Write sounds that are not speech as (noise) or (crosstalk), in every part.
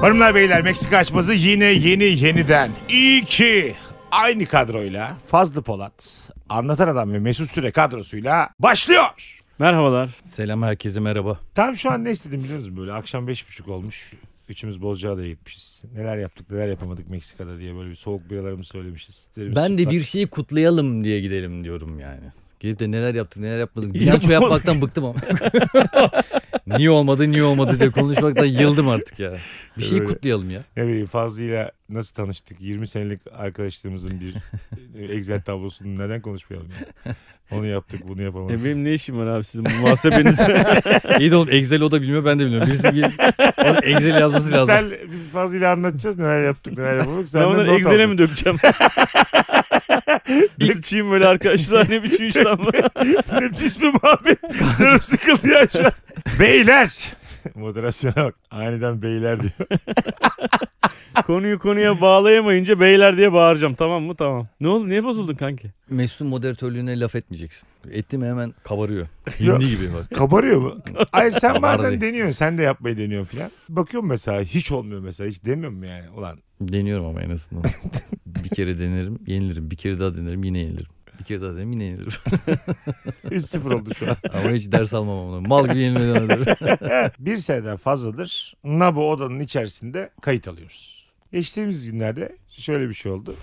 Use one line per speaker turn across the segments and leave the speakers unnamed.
Hanımlar beyler Meksika açması yine yeni yeniden. İyi ki aynı kadroyla Fazlı Polat, Anlatan Adam ve Mesut Süre kadrosuyla başlıyor.
Merhabalar.
Selam herkese merhaba.
Tam şu an ne istedim biliyor musun? Böyle akşam beş buçuk olmuş. Üçümüz Bozcaada'ya gitmişiz. Neler yaptık neler yapamadık Meksika'da diye böyle bir soğuk biralarımı söylemişiz. Derimiz
Ben de
sütler-
bir şeyi kutlayalım diye gidelim diyorum yani. Gelip de neler yaptık neler (laughs) yapmadık. Bilanço yapmaktan bıktım ama. (laughs) niye olmadı niye olmadı diye konuşmaktan yıldım artık ya. Bir şeyi
Öyle.
kutlayalım ya.
Ne bileyim Fazlı'yla nasıl tanıştık? 20 senelik arkadaşlığımızın bir
(laughs)
Excel tablosunu neden konuşmayalım ya? Onu yaptık bunu yapamadık.
E benim ne işim var abi sizin bu
(laughs)
muhasebenizde?
(laughs) İyi de oğlum Excel o da bilmiyor ben de bilmiyorum. Birisi gelip onun Excel yazması lazım.
Sen, biz fazlıyla anlatacağız neler yaptık neler yapamadık.
ben
Sen
onları
(laughs)
Excel'e mi
(laughs)
dökeceğim? Biz çiğim böyle arkadaşlar ne biçim
(laughs)
işlenme.
ne pis bir muhabbet. Canım sıkıldı ya şu an. Beyler. (laughs) Moderasyona bak. Aniden beyler diyor.
Konuyu konuya bağlayamayınca beyler diye bağıracağım tamam mı tamam. Ne oldu niye bozuldun kanki?
Mesut'un moderatörlüğüne laf etmeyeceksin. Etti mi hemen kabarıyor.
(laughs) Yok.
Hindi gibi
(laughs)
bak.
Kabarıyor mu? Hayır sen bazen
Kabardı.
deniyorsun. Sen de yapmayı deniyorsun filan. Bakıyorum mesela hiç olmuyor mesela. Hiç demiyorum mu yani? Ulan
Deniyorum ama en azından. bir kere denerim yenilirim. Bir kere daha denerim yine yenilirim. Bir kere daha denerim yine yenilirim. (laughs)
3-0 oldu şu an.
ama hiç ders almam ondan. Mal gibi yenilmeden hazırım.
bir seneden fazladır Nabo odanın içerisinde kayıt alıyoruz. Geçtiğimiz günlerde şöyle bir şey oldu.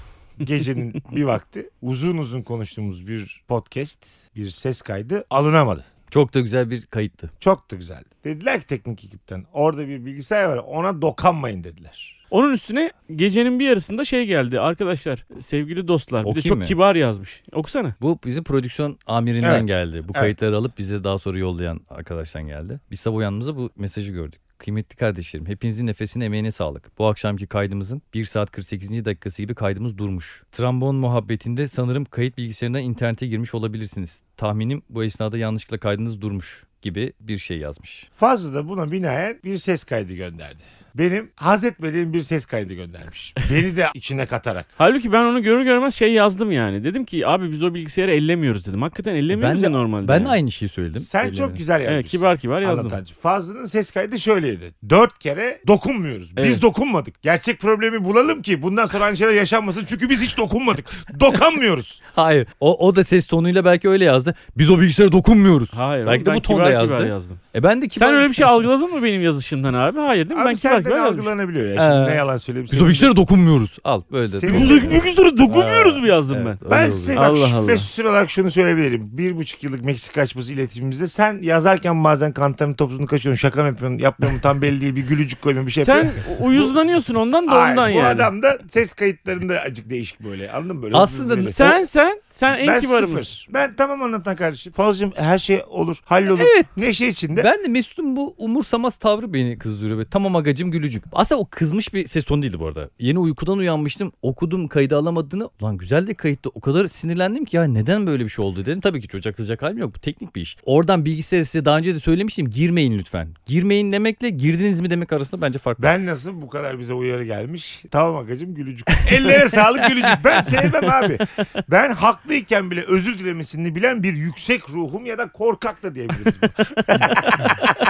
Gecenin bir vakti uzun uzun konuştuğumuz bir podcast, bir ses kaydı alınamadı.
Çok da güzel bir kayıttı.
Çok da güzeldi. Dediler ki teknik ekipten orada bir bilgisayar var ona dokanmayın dediler.
Onun üstüne gecenin bir yarısında şey geldi arkadaşlar sevgili dostlar bir de
Okuyayım
çok
mı?
kibar yazmış. Okusana.
Bu bizim prodüksiyon amirinden
Evet.
geldi. Bu kayıtları alıp bize daha sonra yollayan arkadaştan geldi. Biz sabah uyanımıza bu mesajı gördük. Kıymetli kardeşlerim hepinizin nefesine emeğine sağlık. Bu akşamki kaydımızın 1 saat 48. dakikası gibi kaydımız durmuş. Trombon muhabbetinde sanırım kayıt bilgisayarından internete girmiş olabilirsiniz. Tahminim bu esnada yanlışlıkla kaydınız durmuş gibi bir şey yazmış.
Fazla da buna binaen bir ses kaydı gönderdi. Benim haz etmediğim bir ses kaydı göndermiş. Beni de içine katarak.
Halbuki ben onu görür görmez şey yazdım yani. Dedim ki abi biz o bilgisayarı ellemiyoruz dedim. Hakikaten ellemiyoruz
Ben
ya
de,
normalde.
ben
yani.
de aynı şey şeyi söyledim.
Sen
Ellerine.
çok güzel
Evet,
yazmışsın.
kibar kibar yazdım.
Anlatancı. Fazlı'nın ses kaydı şöyleydi. Dört kere dokunmuyoruz. Biz
Evet.
dokunmadık. Gerçek problemi bulalım ki bundan sonra aynı şeyler yaşanmasın. Çünkü biz hiç dokunmadık. Dokanmıyoruz.
Hayır o, o da ses tonuyla belki öyle yazdı. Biz o bilgisayara dokunmuyoruz.
Hayır
Belki
oğlum,
de
ben
bu tonda
kibar
yazdı.
kibar yazdım.
E ben de kibar...
Sen öyle bir şey algıladın mı benim yazışımdan abi? Hayır (laughs) değil mi?
Abi
ben kibar
senden
kibar yazmışım.
algılanabiliyor ya. Şimdi
Ee,
ne yalan söyleyeyim.
Biz o bilgisayara dokunmuyoruz. Al böyle de.
Senin-
Dokunmuyoruz.
Yüzük yüzüklere dokunmuyoruz mu yazdım
Evet,
ben?
Ben
öyle oluyor.
size
Allah
bak şu-
Allah.
Mesut Süre olarak şunu söyleyebilirim. Bir buçuk yıllık Meksika açması iletişimimizde sen yazarken bazen kantarın topuzunu kaçıyorsun. Şaka mı yapıyorsun? Yapmıyor mu tam belli değil. Bir gülücük koymuyorsun. Bir şey
Sen
yapıyorsun.
uyuzlanıyorsun ondan da
Ay,
ondan
Bu
yani.
adam da ses kayıtlarında acık değişik böyle. Anladın mı? Böyle
Aslında
hızlı-
Sen sen sen en
ben
kibarımız.
sıfır. Ben tamam anlatan kardeşim. Fazlacığım her şey olur. Hallolur. Neşe içinde.
Ben de Mesut'un bu umursamaz tavrı beni kızdırıyor. Böyle, tamam agacım gülücük. Aslında o kızmış bir ses tonu değildi bu arada. Yeni uykudan uyanmıştım. Okudum kaydı alamadığını. Ulan güzel de kayıtta o kadar sinirlendim ki ya neden böyle bir şey oldu dedim. Tabii ki çocuğa kızacak halim yok. Bu teknik bir iş. Oradan bilgisayarı size daha önce de söylemiştim. Girmeyin lütfen. Girmeyin demekle girdiniz mi demek arasında bence fark var.
Ben nasıl bu kadar bize uyarı gelmiş? Tamam agacım gülücük. Ellere sağlık gülücük. Ben sevmem abi. Ben haklıyken bile özür dilemesini bilen bir yüksek ruhum ya da korkak da diyebiliriz. buna.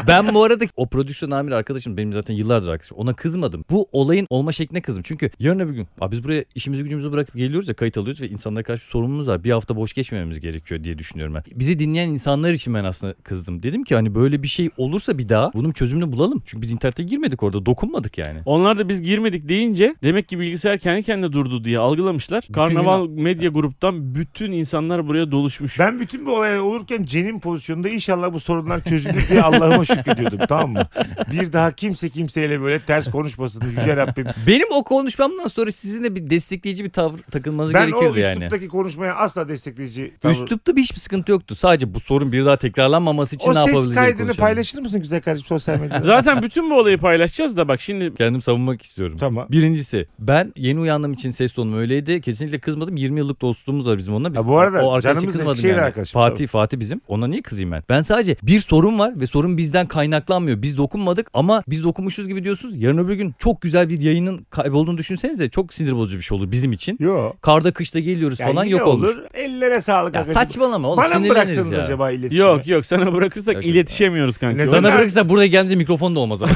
ben bu arada o prodüksiyon amiri arkadaşım benim zaten yıllardır arkadaşım ona kızmadım. Bu olayın olma şekline kızdım. Çünkü yarın öbür gün abi biz buraya işimizi gücümüzü bırakıp geliyoruz ya kayıt alıyoruz ve insanlara karşı bir sorumluluğumuz var. Bir hafta boş geçmememiz gerekiyor diye düşünüyorum ben. Bizi dinleyen insanlar için ben aslında kızdım. Dedim ki hani böyle bir şey olursa bir daha bunun çözümünü bulalım. Çünkü biz internete girmedik orada dokunmadık yani.
Onlar da biz girmedik deyince demek ki bilgisayar kendi kendine durdu diye algılamışlar. Karnaval medya gruptan bütün insanlar buraya doluşmuş.
Ben bütün bu olay olurken Cen'in pozisyonunda inşallah bu sorunlar çözülür diye Allah'ıma şükrediyordum tamam mı? Bir daha kimse kimseyle böyle ters konuşmasın Yüce Rabbim.
Benim o konuşmamdan sonra sizin de bir destekleyici bir tavır takılmanız
Ben o
gerekiyordu yani.
üsluptaki konuşmaya asla destekleyici tavır-
Üslupta bir hiçbir sıkıntı yoktu. Sadece bu sorun bir daha tekrarlanmaması için
O
ne
ses
yapabileceğini
kaydını
konuşalım.
paylaşır mısın güzel kardeşim sosyal medyada?
(laughs)
Zaten bütün bu olayı paylaşacağız da bak şimdi
Kendim savunmak istiyorum.
Tamam.
Birincisi ben yeni uyandığım için ses tonum öyleydi. Kesinlikle kızmadım. 20 yıllık dostluğumuz var bizim onunla. Biz,
Ha, bu arada
arkadaşa
canımız Eskişehir arkadaşım,
Fatih,
tabii.
Fatih bizim. Ona niye kızayım ben? Ben sadece bir sorun var ve sorun bizden kaynaklanmıyor. Biz dokunmadık ama biz dokunmuşuz gibi diyorsunuz. Yarın öbür gün çok güzel bir yayının kaybolduğunu düşünsenize çok sinir bozucu bir şey olur bizim için.
Yo.
Karda kışta geliyoruz
Ya
falan
yine
yok olur.
Ellere sağlık.
Ya
arkadaşım.
saçmalama oğlum
Bana mı
sinirleniriz
bıraksanız
ya.
acaba iletişimi?
Yok yok sana bırakırsak
Yok, yok.
iletişemiyoruz kanka.
Ne-
Sen
Sana
Gönder.
bırakırsa buraya gelince mikrofon
(laughs)
da olmaz abi.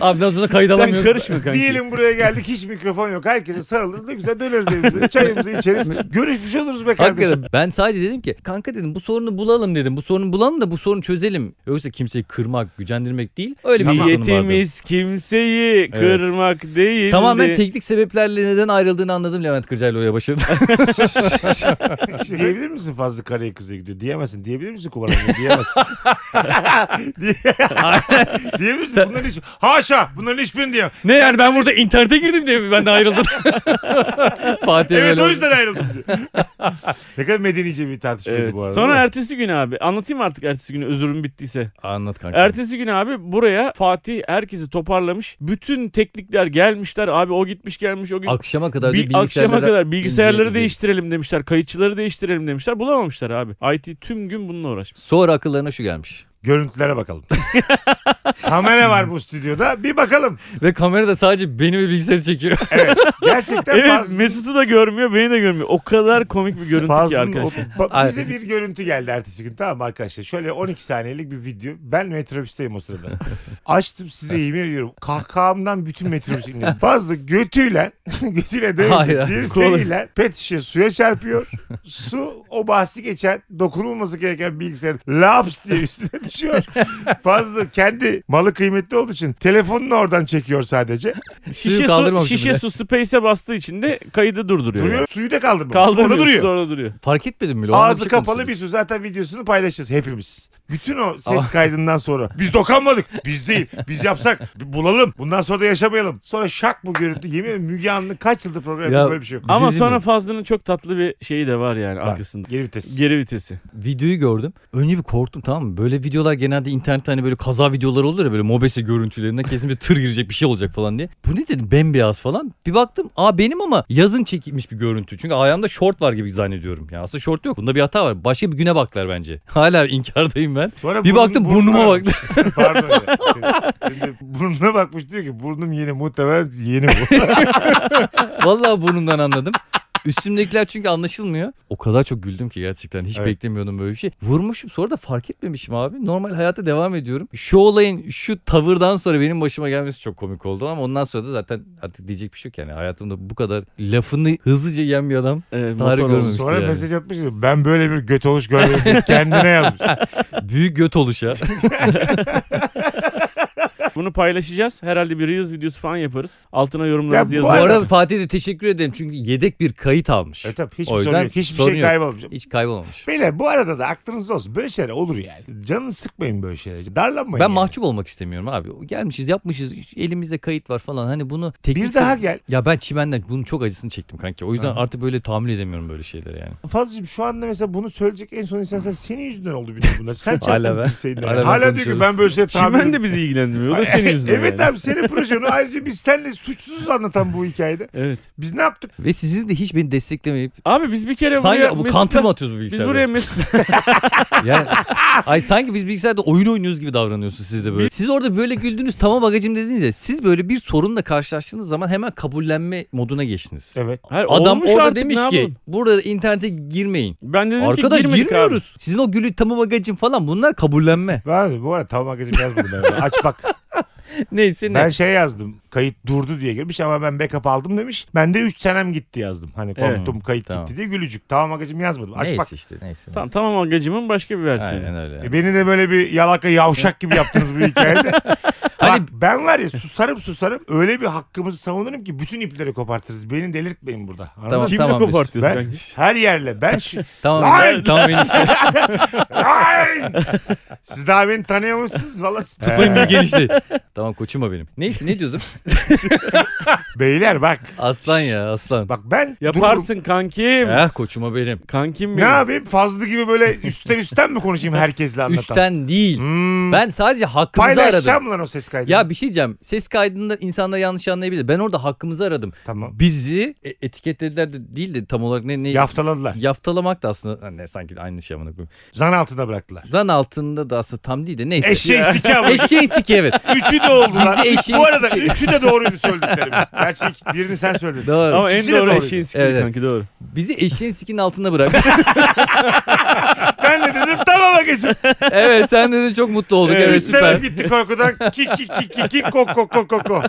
abi daha sonra kayıt alamıyorsun.
karışma kanka.
Diyelim buraya geldik hiç mikrofon yok. Herkese sarılırız ne güzel döneriz
(laughs)
evimize. Çayımızı içeriz. Görüşmüş oluruz be kardeşim.
Hakikaten (laughs) ben sadece dedim ki kanka dedim bu sorunu bulalım dedim. Bu sorunu bulalım da bu sorunu çözelim. Yoksa kimseyi kırmak, gücendirmek değil. Öyle bir şey. sorunum vardı.
Niyetimiz kimseyi kırmak değil.
Tamamen teknik sebeplerle neden ayrıldığını anladım Levent Kırcaylı oya başarıda.
(laughs) Diyebilir misin Fazlı Karay'a kızı gidiyor? Diyemezsin. Diyebilir misin Kubaran'a?
(laughs)
Diyemezsin. Diye- Diyebilir misin? Bunların hiç... Haşa! Bunların hiçbirini diyemem.
ne yani ben burada internete girdim diye mi ben de ayrıldım? (laughs) Fatih
Evet
böyle
o
oldu.
yüzden ayrıldım diyor. (laughs) ne kadar medenice bir tartışmaydı
Evet.
bu arada.
Sonra ertesi gün abi anlatayım mı artık ertesi günü özürüm bittiyse.
Anlat kanka.
Ertesi gün abi buraya Fatih herkesi toparlamış. Bütün teknikler gelmişler abi o gitmiş gelmiş o gitmiş.
Akşama kadar
Bir
bir,
akşama kadar bilgisayarları
inceleyeceğiz.
değiştirelim demişler. Kayıtçıları değiştirelim demişler. Bulamamışlar abi. IT tüm gün bununla uğraşmış.
Sonra akıllarına şu gelmiş.
Görüntülere bakalım. Kamera var bu stüdyoda. Bir bakalım.
Ve kamera da sadece beni ve bilgisayarı çekiyor. (laughs)
Gerçekten
Evet
Fazlı...
Mesut'u da görmüyor beni de görmüyor. O kadar komik bir görüntü ki
Fazlı'nın
arkadaşlar.
o- ba- bize
Ay.
bir görüntü geldi ertesi gün tamam mı arkadaşlar. Şöyle 12 saniyelik bir video. Ben metrobüsteyim o
(laughs)
sırada. Açtım size yemin ediyorum. Kahkahamdan bütün metrobüs inliyor. Fazla götüyle, (laughs) götüyle
Hayır,
değil
hayır.
dirseğiyle pet şişe suya çarpıyor. Su o bahsi geçen dokunulması gereken bilgisayar laps diye üstüne düşüyor. Fazla kendi malı kıymetli olduğu için telefonunu oradan çekiyor sadece.
Suyu
Şişe su,
kaldırmamış
şişe
bile.
su space'e bastığı için de kaydı durduruyor.
Duruyor. Suyu da kaldırmıyor.
Kaldırmıyor.
Orada duruyor.
su da Orada duruyor.
Fark etmedin mi?
Ağzı kapalı bir su zaten videosunu paylaşacağız hepimiz. Bütün o ses kaydından sonra biz dokanmadık. Biz değil. Biz yapsak bi- bulalım. Bundan sonra da yaşamayalım. Sonra şak bu görüntü. Yemin ederim Müge Anlı kaç yıldır program yapıyor,
Ya-
böyle bir şey yok.
şey
Ama
diyeyim
sonra
mi?
Fazlı'nın çok tatlı bir şeyi de var yani
Bak,
arkasında.
Geri vites.
Geri vitesi.
videoyu gördüm. Önce bir korktum tamam mı? Böyle videolar genelde internette hani böyle kaza videoları olur ya böyle mobese görüntülerinden kesin bir tır girecek bir şey olacak falan diye. Bu ne dedim bembeyaz falan. Bir baktım aa benim ama yazın çekilmiş bir görüntü. Çünkü ayağımda şort var gibi zannediyorum. Ya aslında şort yok. Bunda bir hata var. Başka bir güne baklar bence. (laughs) Hala inkardayım ben.
Sonra
Bir
burnun-
baktım burnuma baktı.
bakmış. (laughs) Pardon ya. Senin- senin de Burnuna bakmış diyor ki burnum yeni muhtemelen yeni
(laughs)
bu.
Vallahi burnumdan anladım. Üstümdekiler çünkü anlaşılmıyor. O kadar çok güldüm ki gerçekten. Hiç
Evet.
beklemiyordum böyle bir şey. Vurmuşum sonra da fark etmemişim abi. Normal hayata devam ediyorum. Şu olayın şu tavırdan sonra benim başıma gelmesi çok komik oldu. Ama ondan sonra da zaten artık diyecek bir şey yok yani. Hayatımda bu kadar lafını hızlıca yiyen bir adam. (laughs)
Ee, motor
Tarih
olmuş.
görmemişti
Sonra
yani.
mesaj atmış diyor, ben böyle bir göt oluş görmedim diye kendine yazmış.
Büyük
(laughs)
göt oluşa.
Bunu paylaşacağız. Herhalde bir Reels videosu falan yaparız. Altına
bu
yorumlarınızı
bu
yazın.
arada-
arada Fatih'e de teşekkür ederim. Çünkü yedek bir kayıt almış.
Evet E, tabii
O
hiçbir sorun
yüzden
yok. Hiçbir
sorun
şey
yok.
kaybolmamış.
Hiç kaybolmamış.
Beyler bu arada da aklınızda olsun. Böyle şeyler olur yani. Canını sıkmayın böyle şeylere. Darlanmayın.
Ben
yani.
mahcup olmak istemiyorum abi. Gelmişiz yapmışız elimizde kayıt var falan. Hani bunu teknik
Bir daha gel.
Ya ben çimenden bunun çok acısını çektim kanki. O yüzden
Aha.
artık böyle tahammül edemiyorum böyle şeylere yani.
Fazlıcığım şu anda mesela bunu söyleyecek en son insan sen senin yüzünden oldu bütün bunlar. Sen
(laughs) Hala
çarptın
ben-
dirseğinden. Hala,
hala ben
diyor ki
konuşuyorum.
ben böyle şey
Çimen
tahmin
de bizi ilgilendirmiyor. O da senin yüzünden.
Evet
yani.
abi senin projen o. ayrıca biz seninle suçsuzuz anlatan bu hikayede.
Evet.
Biz ne yaptık?
Ve sizin de hiç beni desteklemeyip
Abi biz bir kere
sanki
buraya
bu
Mesut'la-
kantır mı atıyoruz bu
Biz
bilgisayarda?
buraya Mesut
Yani, ay sanki biz bilgisayarda oyun oynuyoruz gibi davranıyorsunuz siz de böyle. Siz orada böyle güldünüz tamam bagacım dediniz ya. Siz böyle bir sorunla karşılaştığınız zaman hemen kabullenme moduna geçtiniz.
Evet.
Hayır,
Adam
E, olmuş
orada
artık,
demiş
ne
ki
yapalım?
burada internete girmeyin.
Ben de dedim
Arkadaş
ki girmedik abi.
girmiyoruz. Sizin o gülü tamam bagacım falan bunlar kabullenme.
Ben bu arada tamam arkadaşım yazmadım ben. bunu. Aç bak.
Neyse (laughs) ne.
Ben şey yazdım. Kayıt durdu diye girmiş ama ben backup aldım demiş. Ben de 3 senem gitti yazdım. Hani
Evet.
korktum kayıt
Tamam.
gitti diye gülücük. Tamam arkadaşım yazmadım. Aç
neyse
bak.
işte neyse.
Tamam tamam agacımın başka bir versiyonu.
Aynen öyle.
E beni de böyle bir yalaka yavşak gibi yaptınız bu hikayede.
Hani-
Bak ben var ya susarım susarım öyle bir hakkımızı savunurum ki bütün ipleri kopartırız. Beni delirtmeyin burada. Anladın
Tamam,
mı?
Kimle
tamam, Mesut.
kopartıyorsun
Ben-
kanka?
Her yerle ben şi-
Tamam,
Lan!
(laughs)
tamam enişte.
Ay! Siz daha beni tanıyamamışsınız valla. (laughs)
Tıpayım
Ee,
bir genişti. Tamam koçum o benim. Neyse ne diyordum?
beyler bak.
Aslan ya aslan.
Bak ben dururum.
Yaparsın kankim.
Eh koçuma benim.
Kankim
Ne
benim.
yapayım? Fazlı gibi böyle üstten üstten mi konuşayım herkesle anlatan?
Üçten değil.
Hmm.
Ben sadece hakkımızı aradım.
Paylaşacağım lan o ses kaydını.
Ya bir şey diyeceğim. Ses kaydında insanlar yanlış anlayabilir. Ben orada hakkımızı aradım.
Tamam.
Bizi e- etiketlediler de değil de tam olarak ne ne
Yaftaladılar.
yaftalamak da aslında hani sanki aynı şey amına koyayım.
Zan altında bıraktılar.
Zan altında da aslında tam değil de neyse.
Eşeği sikem.
Eşeğin siki evet.
Üçü de oldu lan.
Bizi
Üç-
eşeği
Bu arada üçü de doğruydu söylediklerim. Gerçi iki- birini sen söyledin.
Doğru.
Ama en
İkisi de
doğru
doğru.
eşeğin sikili
Evet.
kanki doğru.
Bizi eşeğin sikinin altında bırak. (laughs)
Ben de dedim tamam Akacığım.
evet sen de çok mutlu olduk. Evet,
Üç
süper.
sebep gitti korkudan. Ki ki ki ki ki ko ko ko ko ko.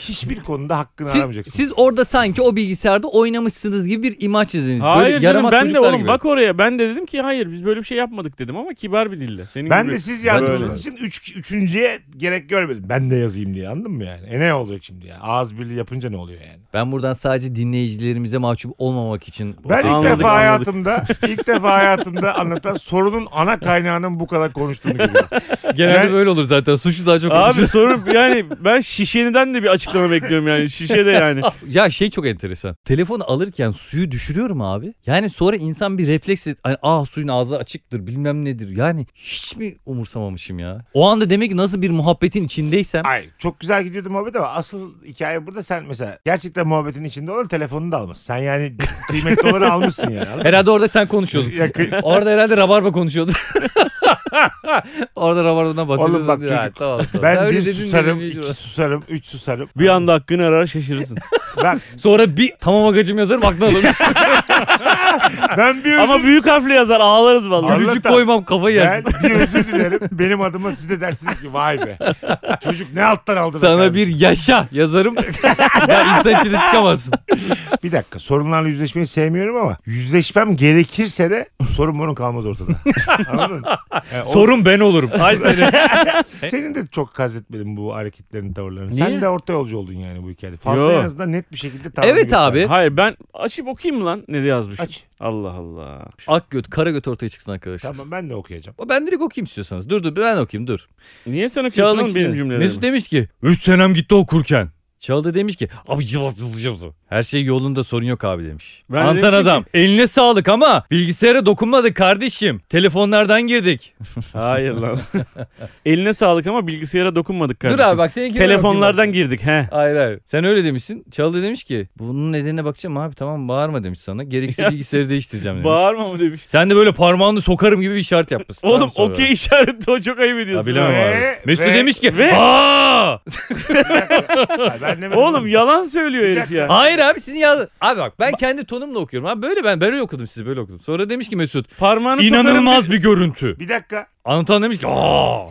Hiçbir konuda hakkını
Siz,
aramayacaksın.
siz orada sanki o bilgisayarda oynamışsınız gibi bir imaj çizdiniz.
Hayır canım
yaramaz
ben de
çocuklar
oğlum
gibi.
bak oraya ben de dedim ki hayır biz böyle bir şey yapmadık dedim ama kibar bir dille. Senin
Ben
gibi.
de siz yazdığınız
Böyle.
için üç, üçüncüye gerek görmedim. Ben de yazayım diye anladın mı yani? E ne olacak şimdi ya? Ağız birliği yapınca ne oluyor yani?
Ben buradan sadece dinleyicilerimize mahcup olmamak için.
Ben ilk
Anladık,
defa
anladık.
hayatımda ilk defa hayatımda anlatan sorunun ana kaynağının bu kadar konuştuğunu görüyorum.
Genelde
Yani-
böyle olur zaten. Suçlu daha çok
Abi
suçlu.
sorun yani ben şişeniden de bir açıklama bekliyorum yani şişe de yani.
Ya şey çok enteresan. Telefonu alırken suyu düşürüyorum abi. Yani sonra insan bir refleksle hani ah suyun ağzı açıktır bilmem nedir. Yani hiç mi umursamamışım ya? O anda demek ki nasıl bir muhabbetin içindeysem.
Ay çok güzel gidiyordu muhabbet ama asıl hikaye burada sen mesela gerçekten muhabbetin içinde olan telefonunu da almışsın. Sen yani kıymetli olanı almışsın yani. anladın mı?
Herhalde orada sen konuşuyordun.
Ya kıy-
Orada herhalde rabarba konuşuyordu. (laughs) Orada rabarbadan bahsediyordun.
Oğlum bak
Ya,
çocuk,
tamam, tamam. Sen
ben
öyle
bir
dedin de
susarım,
benim
iki
yüzüme-
susarım, üç susarım.
Bir anda hakkını arar şaşırırsın.
Ben,
Sonra bir tamam agacım yazarım aklına alırım.
(laughs) ben bir özür,
ama büyük harfle yazar ağlarız vallahi.
Anlatan.
Gülücük koymam kafayı
ben (laughs)
yersin.
bir özür dilerim. Benim adıma siz de dersiniz ki vay be. Çocuk ne alttan aldı. be
Sana
kardeşim.
bir yaşa
(laughs)
yazarım. ya insan içine çıkamazsın.
Bir dakika sorunlarla yüzleşmeyi sevmiyorum ama yüzleşmem gerekirse de sorun bunun kalmaz ortada. Anladın mı? Yani o-
Sorun ben olurum. Ay seni.
senin de çok kaz etmedim bu hareketlerin tavırlarını.
Niye?
Sen de orta yolcu oldun yani bu hikayede. Fazla
Yo.
en azından net bir şekilde tavır
Evet
gösterdin.
abi.
Hayır ben açıp okuyayım mı lan ne de yazmış.
Aç.
Allah Allah.
Ak göt, kara göt ortaya çıksın arkadaşlar.
Tamam ben de
(laughs)
okuyacağım.
O Ben direkt okuyayım istiyorsanız. Dur dur ben okuyayım dur.
Niye sen okuyorsun
Çağla'nın
oğlum benim
ikisini.
cümlelerimi?
Mesut demiş ki 3 senem gitti okurken. Çağla da demiş ki abi cıvaz cıvaz cıvaz. Her şey yolunda sorun yok abi demiş.
Ben de
Antan
demişim
adam eline sağlık ama bilgisayara dokunmadık kardeşim. Telefonlardan girdik.
Hayır lan. (laughs) Eline sağlık ama bilgisayara dokunmadık kardeşim.
Dur abi bak senin
Telefonlardan girdik he.
Hayır hayır. Sen öyle demişsin. Çağla demiş ki bunun nedenine bakacağım abi tamam bağırma demiş sana. Gerekirse
Ya
bilgisayarı değiştireceğim demiş.
Bağırma mı demiş.
Sen de böyle parmağını sokarım gibi bir işaret yapmışsın.
Oğlum
(laughs) Tamam sonra.
okey işareti o çok ayıp
Ya
ediyorsun.
bilemem
ha.
Ve-
abi. Mesut
ve-
demiş ki
ve-
Aa!
Ha, ben demedim.
Oğlum yalan söylüyor herif ya.
Hayır abi sizin yaz... Abi bak ben kendi tonumla okuyorum. Abi böyle ben böyle okudum sizi böyle okudum. Sonra demiş ki Mesut
Parmağını sokarım.
inanılmaz bir görüntü.
Bir dakika.
Anlatan demiş ki Aa!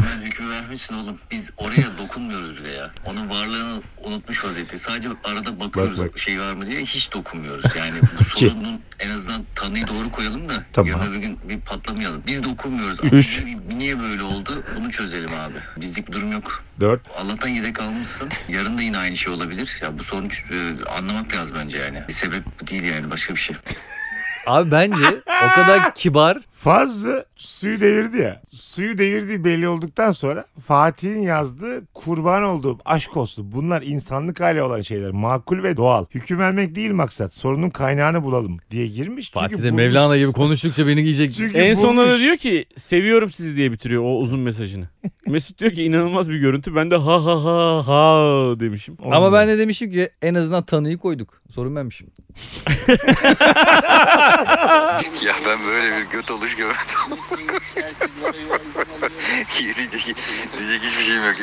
Sen hüküm vermişsin oğlum. Biz oraya dokunmuyoruz bile ya. Onun varlığını unutmuş vaziyette. Sadece arada bakıyoruz
Bak, bak.
şey var mı diye hiç dokunmuyoruz. Yani bu sorunun en azından tanıyı doğru koyalım da
Tamam.
yarın öbür gün bir patlamayalım. Biz dokunmuyoruz.
Üç.
Abi, Niye böyle oldu? Bunu çözelim abi. Bizlik durum yok.
Dört.
Allah'tan yedek almışsın. Yarın da yine aynı şey olabilir. Ya bu sorunu e, anlamak lazım bence yani. Bir sebep değil yani başka bir şey.
Abi bence o kadar kibar.
Fazlı suyu devirdi ya. Suyu devirdiği belli olduktan sonra Fatih'in yazdığı kurban olduğum aşk olsun. Bunlar insanlık hali olan şeyler. Makul ve doğal. Hüküm vermek değil maksat. Sorunun kaynağını bulalım diye girmiş. Çünkü
Fatih de
bulmuş-
Mevlana gibi konuştukça beni yiyecek.
Çünkü
En sonunda
bulmuş.
da diyor ki seviyorum sizi diye bitiriyor o uzun mesajını. Mesut diyor ki inanılmaz bir görüntü. Ben de ha ha ha ha demişim.
Ama ben de demişim ki en azından tanıyı koyduk. Sorun benmişim.
Ya ben böyle bir göt oluş görmedim. diyecek, diyecek hiçbir şeyim yok.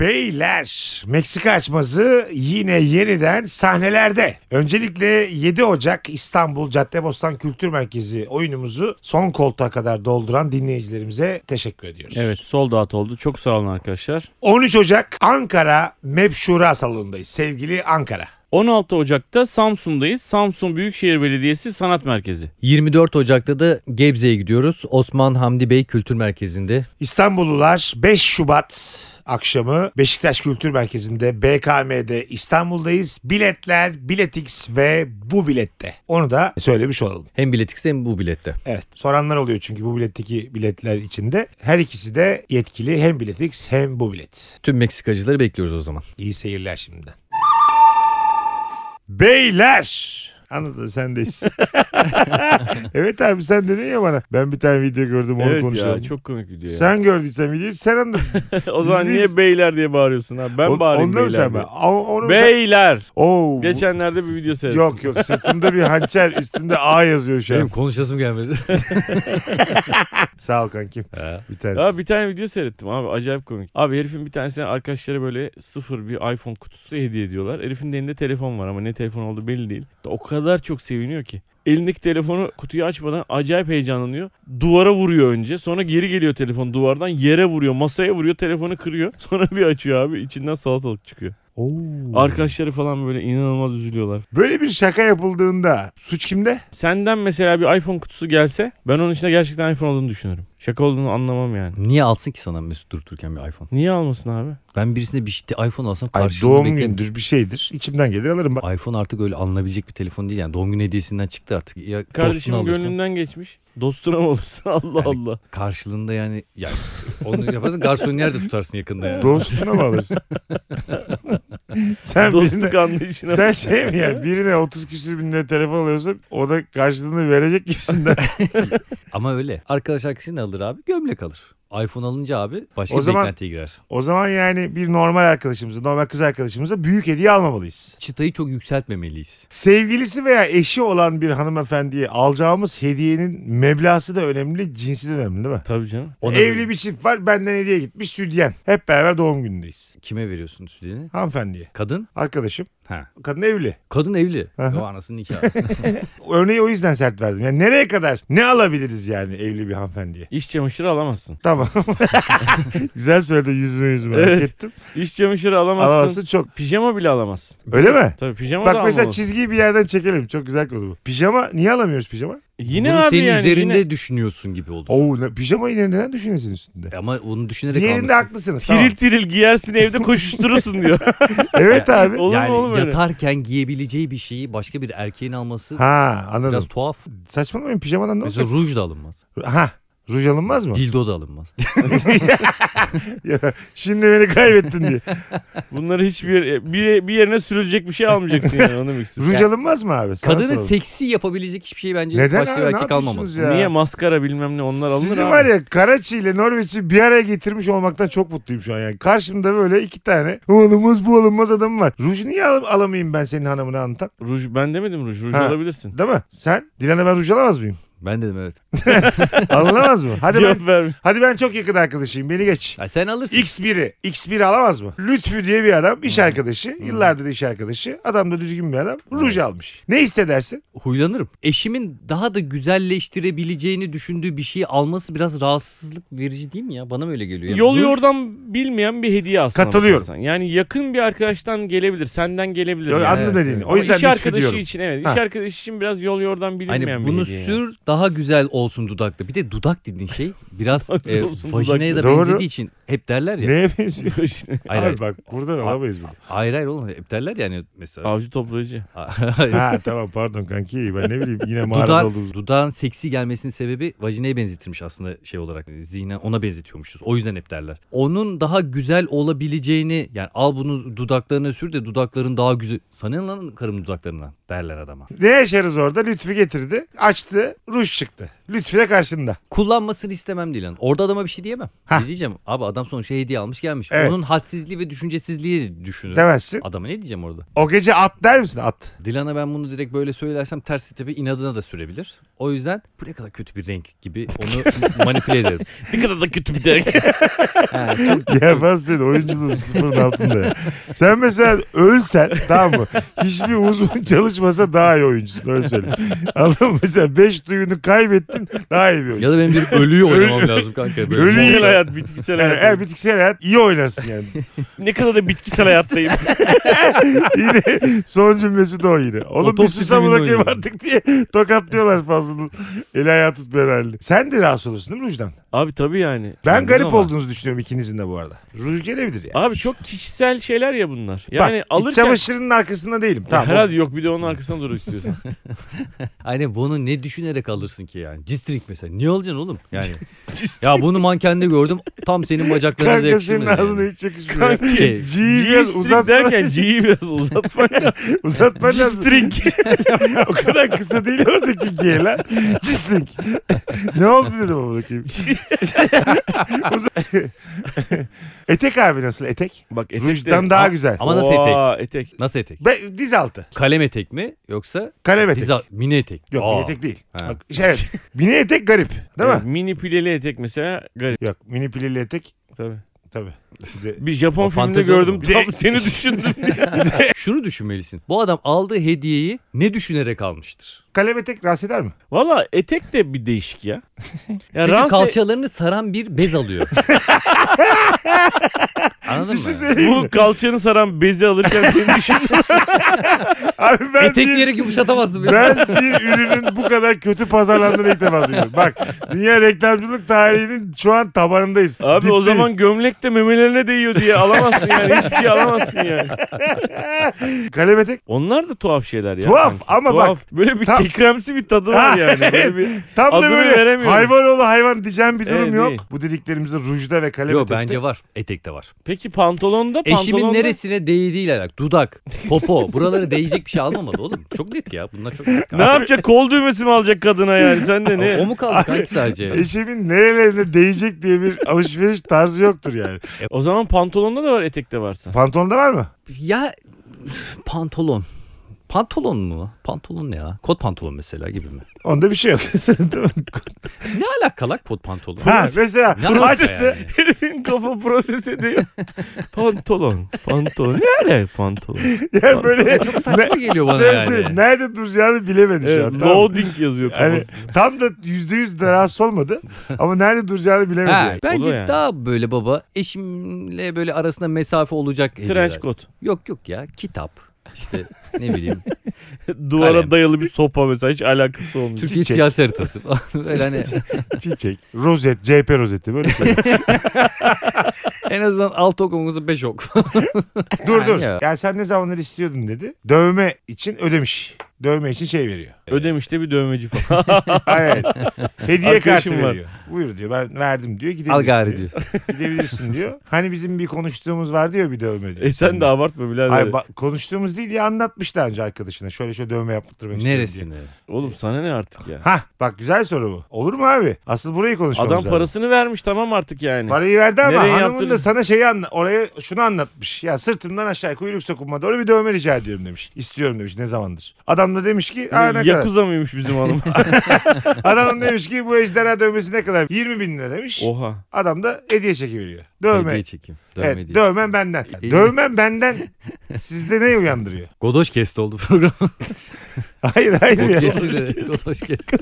Beyler Meksika açması yine yeniden sahnelerde. Öncelikle 7 Ocak İstanbul Caddebostan Kültür Merkezi oyunumuzu son koltuğa kadar dolduran dinleyicilerimize teşekkür ediyoruz.
Evet sol dağıt oldu. Çok sağ olun arkadaşlar.
13 Ocak Ankara MEP Şura Salonu'ndayız. Sevgili Ankara.
16 Ocak'ta Samsun'dayız. Samsun Büyükşehir Belediyesi Sanat Merkezi.
24 Ocak'ta da Gebze'ye gidiyoruz. Osman Hamdi Bey Kültür Merkezi'nde.
İstanbullular 5 Şubat akşamı Beşiktaş Kültür Merkezi'nde BKM'de İstanbul'dayız. Biletler, Biletix ve bu bilette. Onu da söylemiş olalım.
Hem biletiksi hem bu bilette.
Evet. Soranlar oluyor çünkü bu biletteki biletler içinde. Her ikisi de yetkili hem biletix hem bu bilet.
Tüm Meksikacıları bekliyoruz o zaman.
İyi seyirler şimdiden. Beyler Anladın sen de
(laughs)
işte. evet abi sen dedin ya bana. Ben bir tane video gördüm onu
evet
konuşalım.
ya çok komik video ya.
Sen gördüysen videoyu sen anladın.
(laughs) o zaman
biz-
niye beyler diye bağırıyorsun abi? Ben
O-
bağırayım
Ondan mı
beyler.
sen ben?
diye.
O- Onu mu sen-
Beyler.
Oo, bu-
Geçenlerde bir video seyrettim.
Yok yok sırtımda bir hançer üstünde A yazıyor şu
Benim
an.
konuşasım gelmedi.
Sağ ol kankim.
Ha.
Bir tanesi.
Ya bir tane video seyrettim abi acayip komik. Abi herifin bir tanesine arkadaşları böyle sıfır bir iPhone kutusu hediye ediyorlar. Herifin de elinde telefon var ama ne telefon olduğu belli değil. O kadar çok seviniyor ki. Elindeki telefonu kutuyu açmadan acayip heyecanlanıyor. Duvara vuruyor önce. Sonra geri geliyor telefon duvardan yere vuruyor. Masaya vuruyor telefonu kırıyor. (laughs) Sonra bir açıyor abi içinden salatalık çıkıyor.
Oo.
Arkadaşları falan böyle inanılmaz üzülüyorlar.
Böyle bir şaka yapıldığında suç kimde?
Senden mesela bir iPhone kutusu gelse ben onun içinde gerçekten iPhone olduğunu düşünürüm. Şaka olduğunu anlamam yani.
Niye alsın ki sana Mesut durup dururken bir iPhone?
Niye almasın abi?
Ben birisine bir şey, iPhone alsam
Ay,
karşılığını
doğum
beklerim.
gündür bir şeydir. İçimden gelir alırım.
(laughs)
Bak,
iPhone artık öyle alınabilecek bir telefon değil yani. Doğum günü hediyesinden çıktı artık. Ya dostuna
Kardeşimin
alırsın.
gönlünden geçmiş. Dostuna mı olursun? (laughs) Allah
Yani-
Allah.
Karşılığında yani, yani onu yaparsan garsoniyer de tutarsın yakında yani.
dostuna mı
(laughs)
alırsın? sen birine-
Dostluk anlayışına.
Sen şey mi ya (laughs) birine 30 küsür bin lira telefon alıyorsun o da karşılığını verecek gibisinden.
Ama öyle. Arkadaş arkadaşı ne alır abi? Gömlek alır. iPhone alınca abi başka
O
bir
zaman-
beklentiye girersin.
o zaman yani bir normal arkadaşımıza normal kız arkadaşımıza büyük hediye almamalıyız.
Çıtayı çok yükseltmemeliyiz.
Sevgilisi veya eşi olan bir hanımefendiye alacağımız hediyenin meblası da önemli cinsi de önemli değil mi?
Tabii canım.
Ona
Evli
göre
bir çift var benden hediye gitmiş südyen. Hep beraber doğum günündeyiz.
Kime veriyorsun sütini?
Hanımefendiye.
Kadın?
Arkadaşım.
Ha.
Kadın evli.
Kadın evli.
Aha.
O
(laughs)
anasının nikahı.
Örneği o yüzden sert verdim. Yani nereye kadar ne alabiliriz yani evli bir hanımefendiye?
İş çamaşırı alamazsın.
Tamam. (laughs) Güzel söyledin yüzme yüzme. Hak
Evet.
ettim.
İş çamaşırı alamazsın.
Alamazsın çok.
Pijama bile alamazsın.
Öyle mi?
Tabii pijama da
Bak mesela
alamazsın.
çizgiyi bir yerden çekelim. Çok güzel konu bu. Pijama niye alamıyoruz pijama?
Yine
Bunu
abi
senin
yani.
üzerinde
Yine...
düşünüyorsun gibi oldu.
Oo, ne, pijamayı ne- neden düşünüyorsun üstünde?
Ama onu düşünerek
Diğerinde
almışsın.
haklısınız. Tamam.
(laughs) Tiril tiril giyersin evde koşuşturursun (laughs) diyor.
(laughs) Evet abi.
Olur
yani
mu oğlum öyle?
yatarken giyebileceği bir şeyi başka bir erkeğin alması
Ha anladım.
biraz tuhaf.
Saçmalamayın pijamadan ne
Mesela
olacak?
ruj da alınmaz.
Ha ruj alınmaz mı?
Dildo da alınmaz.
(laughs) Ya, Şimdi beni kaybettin
(laughs)
diye.
Bunları hiçbir e, bir, bir yerine sürülecek bir şey almayacaksın yani onu demek istiyorum.
Ruj alınmaz mı abi? Sana
Kadını
soralım.
seksi yapabilecek hiçbir şey bence
Neden
başka
abi?
bir
Ne
erkek
yapıyorsunuz
almamalı.
ya?
Niye maskara bilmem ne onlar alınır
Sizin
abi.
var ya Karaçi ile Norveç'i bir araya getirmiş olmaktan çok mutluyum şu an yani. Karşımda böyle iki tane o alınmaz bu alınmaz adam var. Ruj niye al- alamayayım ben senin hanımını anlatan?
Ruj ben demedim ruj. Ruj
Ha.
alabilirsin.
Değil mi? Sen Dilan'a ben ruj alamaz mıyım?
Ben dedim evet.
Alınamaz mı? Hadi ben
Cevap verme.
Hadi ben çok yakın arkadaşıyım beni geç.
Ya sen alırsın.
X1'i. X1'i alamaz mı? Lütfü diye bir adam
Hmm.
iş arkadaşı. Yıllardır iş arkadaşı. Adam da düzgün bir adam. Ruj almış. Ne hissedersin?
Huylanırım. Eşimin daha da güzelleştirebileceğini düşündüğü bir şeyi alması biraz rahatsızlık verici değil mi ya? Bana mı öyle geliyor? Yani
Yol
ruj-
yordan bilmeyen bir hediye aslında.
Katılıyorum.
bakarsan. Yani yakın bir arkadaştan gelebilir, senden gelebilir.
Yo,
yani.
Anladım
evet,
dediğini.
evet.
O yüzden
iş
lütfü
arkadaşı
diyorum.
için evet.
Ha.
İş arkadaşı için biraz yol yordan bilinmeyen
Hani
bir
bunu
hediye. yani.
sür daha güzel olsun dudak da. Bir de dudak dediğin şey
(laughs)
biraz
Dudak
e,
olsun,
vajinaya da
dudak. Doğru.
benzediği için hep derler ya.
Neye
(laughs)
benziyor?
(laughs) Hayır, hayır,
Abi bak buradan alamayız bunu.
hayır hayır oğlum hep derler yani mesela.
Avcı toplayıcı.
(laughs) Hayır.
ha tamam pardon kanki ben ne bileyim yine mağarada
Dudağın,
olduğumuz.
dudağın seksi gelmesinin sebebi vajinaya benzetirmiş aslında şey olarak. Zihnen ona benzetiyormuşuz. O yüzden hep derler. Onun daha güzel olabileceğini yani al bunu dudaklarına sür de dudakların daha güzel. Sana ne lan karım dudaklarına derler adama.
Ne yaşarız orada? Lütfü getirdi. Açtı. Ruj çıktı. Lütfü de karşında.
Kullanmasını istemem değil lan. Orada adama bir şey diyemem.
Hah.
Ne diyeceğim? Abi adam sonuçta şey hediye almış gelmiş.
Evet.
Onun hadsizliği ve düşüncesizliği düşünür.
Demezsin.
Adama ne diyeceğim orada?
O gece at der misin? At.
Dilan'a ben bunu direkt böyle söylersem ters tepe inadına da sürebilir. O yüzden bu ne kadar kötü bir renk gibi onu (laughs) manipüle ederim.
Ne kadar da kötü
(laughs)
bir derek.
Ha, çok
Ya ben senin oyunculuğun sıfırın altında ya. Sen mesela ölsen tamam mı? Hiçbir uzun çalışmasa daha iyi oyuncusun öyle söyleyeyim. Anladın mı? Mesela 5 duyunu kaybettin daha iyi bir oyuncu.
Ya da benim bir ölüyü oynamam lazım kanka. Böyle şey
Ölüyü-
bitkisel hayat, bitkisel
Yani
hayat.
eğer bitkisel hayat iyi oynarsın yani.
Ne kadar da
(laughs)
bitkisel hayattayım.
yine son cümlesi de o yine. Oğlum bir
Otopsi
susam
filminde
bırakayım
oynuyor.
artık diye tokatlıyorlar fazla. Eli ayağı tutmayan halde. Sen de rahatsız olursun değil mi Rujdan?
Abi tabii yani.
Ben
Anladım
garip
ama.
olduğunuzu düşünüyorum ikinizin de bu arada. Ruj gelebilir yani.
Abi çok kişisel şeyler ya bunlar. Yani
Bak, iç
alırken...
çamaşırının arkasında değilim. Tamam.
Herhalde yok bir de onun arkasına
(laughs)
dur istiyorsan.
Aynen bunu ne düşünerek alırsın ki yani? Distrik mesela. Niye alacaksın oğlum?
(laughs)
Yani ya bunu mankende gördüm. Tam senin bacaklarına da
Kanka
yakışır
senin
mı?
ağzına
Yani.
hiç yakışmıyor.
Şey,
G'yi biraz
G-string
uzatma.
derken
(laughs)
G'yi biraz uzatma.
Uzatma lazım.
G-string.
(laughs) o kadar kısa değil oradaki G lan. Cisting. ne oldu dedim ama bakayım. Uza- etek abi nasıl etek?
Bak etek
Rujdan
de-
daha
Aa,
güzel.
Ama nasıl etek?
Aa, etek.
Nasıl etek?
Be, diz altı.
Kalem etek mi yoksa
Kalem etek.
dizi- mini etek?
Yok
Aa.
mini etek değil.
Ha.
Bak, şey, evet. mini etek garip değil
Evet,
mi?
Mini pileli etek mesela garip
Yok mini pileli etek
tabii.
tabii. Bir de-
Bir Japon
O
filminde
fantezi olur
gördüm
mu?
Bir
tam
de-
seni düşündüm.
Şunu düşünmelisin. Bu adam aldığı hediyeyi ne düşünerek almıştır?
Kalem etek rahatsız eder mi?
Valla etek de bir
(laughs)
değişik ya. Ya
Çünkü
Ranse
kalçalarını saran bir bez alıyor. Anladın
Bir şey
mı?
söyleyeyim mi?
bu kalçanı saran bezi
(laughs)
alırken seni düşündüm.
Abi ben bir-
Etekleri yumuşatamazdım. mesela.
Ben bir ürünün bu kadar kötü pazarlandığını ilk defa duyuyorum. Bak dünya reklamcılık tarihinin şu an tabanındayız.
Abi o
Dipteyiz.
zaman gömlek de memelerine değiyor diye
(laughs)
alamazsın yani. Hiçbir şey alamazsın yani.
kalem etek
Onlar da tuhaf şeyler ya.
Tuhaf ama bak-
Böyle bir
Tam-
kekremsi bir tadı var
Ha,
yani. Böyle
evet.
bir
(laughs) tam da
Adını
böyle
veremiyorum.
hayvan oğlu hayvan diyeceğim bir durum
Evet,
yok.
değil.
Bu dediklerimizde rujda ve kalem
Yok
etekte.
bence var. Etekte var.
Peki pantolonda pantolonda
Eşimin neresine değdiğiyle alakalı. Dudak, popo. Buralara değecek bir şey almamalı oğlum. Çok net ya. Bunlar çok net.
ne yapacak? Kol düğmesi mi alacak kadına yani? Sen de
O
(laughs)
ne?
mu kaldı kanki sadece?
Eşimin nerelerine değecek diye bir alışveriş tarzı yoktur yani.
O zaman pantolonda da var, etekte
(laughs)
varsa.
Pantolonda var mı?
Ya üf, pantolon. Pantolon mu? Pantolon ne ya? Kot pantolon mesela gibi mi?
Onda bir şey yok. (laughs)
Ne alakalı kot pantolon?
ha, mesela
Ne alaka
açsa
yani?
Herifin kafa
(laughs)
proses ediyor. pantolon, pantolon. Ne alaka pantolon?
yani böyle
Çok saçma geliyor bana
şey
yani.
söyleyeyim, nerede duracağını bilemedi şu an.
Evet,
tamam mı?
loading yazıyor
Yani
kafasında.
tam da yüzde yüz de rahatsız olmadı ama nerede duracağını bilemedi.
Ha,
yani.
bence
O da yani.
daha böyle baba eşimle böyle arasında mesafe olacak. hediyeler.
Trench coat. (laughs)
Yok yok ya kitap. İşte ne bileyim.
Duvara
Kalem.
dayalı bir sopa mesela hiç alakası olmuyor.
Türkiye siyasi haritası. falan. (laughs) Böyle hani
Çiçek, rozet, CHP rozeti böyle
(laughs)
şey.
en azından alt okumumuzu 5 ok.
dur dur.
ya.
Yani sen ne zamanlar istiyordun dedi. Dövme için ödemiş. Dövme için şey veriyor.
Ödemiş de bir dövmeci
(laughs)
falan.
Evet. Hediye kartı
Arkadaşım var.
veriyor. Buyur diyor ben verdim diyor gidebilirsin
Al gari
diyor.
diyor.
Gidebilirsin diyor. Hani bizim bir konuştuğumuz var diyor bir dövme diyor.
e sen de abartma birader.
Ay, ba- konuştuğumuz değil ya anlatmış daha önce arkadaşına. Şöyle şöyle dövme yaptırmak istiyorum diye.
Neresine?
Oğlum sana ne artık ya?
Hah bak güzel soru bu. Olur mu abi? Asıl burayı konuşmamız
Adam
lazım.
parasını vermiş tamam artık yani.
Parayı verdi ama
Nereye
hanımın
yaptırır?
da sana şeyi anla oraya şunu anlatmış. Ya sırtımdan aşağı kuyruk sokunma doğru bir dövme rica ediyorum demiş. İstiyorum demiş ne zamandır. Adam da demiş ki Aa, ne kadar.
Yakuza mıymış
(laughs)
bizim hanım?
Adam demiş ki bu ejderha dövmesi ne kadar? 20 bin lira demiş.
Oha.
Adam da hediye çekiveriyor. Dövme.
Hediye E- çekeyim. Dövme
evet,
değil.
dövmem benden.
İyi.
Dövmem benden sizde ne
(laughs)
uyandırıyor?
Godoş kesti oldu program.
Hayır hayır. ya.
Podcast'i de Godoş kesti.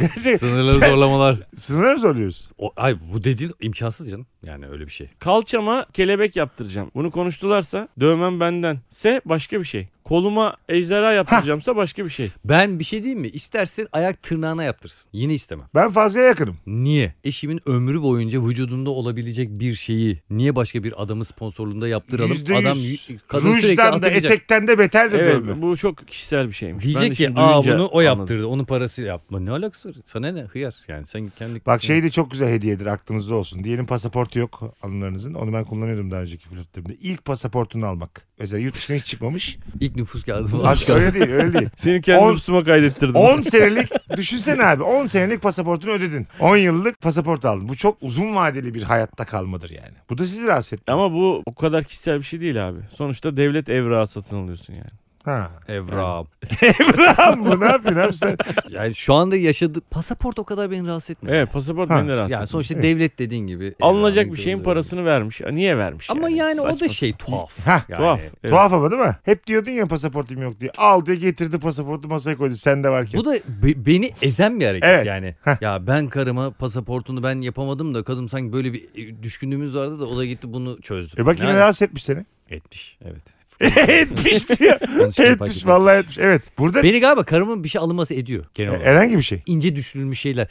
Gerçek-
Sınırları zorlamalar.
Sınırı mı soruyoruz?
O, ay bu dediğin imkansız canım. Yani öyle bir şey.
Kalçama kelebek yaptıracağım. Bunu konuştularsa dövmem bendense başka bir şey. Koluma ejderha yaptıracağımsa başka bir şey.
Ben bir şey diyeyim mi? İstersen ayak tırnağına yaptırsın. Yine istemem.
Ben fazla yakınım.
Niye? Eşimin ömrü boyunca vücudunda olabilecek bir şeyi niye başka bir adamın sponsorluğunda yaptıralım?
%100
Adam y- kadın sürekli
Rujdan da
hatırlayacak.
etekten de beterdir
Evet
dövme.
bu çok kişisel bir şeymiş. Ben de
Diyecek ki
şimdi
aa
duyunca
bunu o
anladım.
yaptırdı. Onun parası yapma. Ne alakası var? Sana ne hıyar? Yani sen kendi...
Bak şey de çok güzel hediyedir aklınızda olsun. Diyelim pasaportu yok anılarınızın. Onu ben kullanıyordum daha önceki flörtlerimde. İlk pasaportunu almak. Mesela yurt dışına hiç
(laughs)
çıkmamış.
İlk nüfus kağıdı mı?
Aşk öyle değil öyle
(laughs)
değil.
Seni kendi
On-
hırsıma kaydettirdim.
10 senelik düşünsene abi 10 senelik pasaportunu ödedin. 10 yıllık pasaport aldın. Bu çok uzun vadeli bir hayatta kalmadır yani. Bu da sizi rahatsız etti.
Ama bu o kadar kişisel bir şey değil abi. Sonuçta devlet evrağı satın alıyorsun yani.
Ha. (laughs)
Evra.
Lan bu ne yapıyorsun abi sen?
Yani şu anda yaşadığı pasaport o kadar beni rahatsız etmiyor.
Evet pasaport
Ha,
beni de rahatsız
Yani
etmiyor.
sonuçta devlet dediğin gibi.
Alınacak
Evra,
bir şeyin
Evra.
parasını vermiş. Ha, Niye vermiş
Ama yani, o
Saçma.
da şey tuhaf.
Hah,
Yani,
Tuhaf. evet.
Tuhaf ama değil mi? Hep diyordun ya pasaportum yok diye. Al diye getirdi pasaportu masaya koydu. Sende varken.
Bu da be- beni ezen bir hareket
Evet.
yani. Ya ben karıma pasaportunu ben yapamadım da kadın sanki böyle bir e, düşkünlüğümüz vardı da o da gitti bunu çözdü.
E bak yine
Yani
rahatsız etmiş seni.
etmiş. Evet.
etmiş diyor.
Yanlış yapan
etmiş
gibi.
vallahi etmiş. Evet burada
Beni galiba karımın bir şey alınması ediyor
E,
genel olarak.
herhangi bir şey.
İnce düşünülmüş şeyler.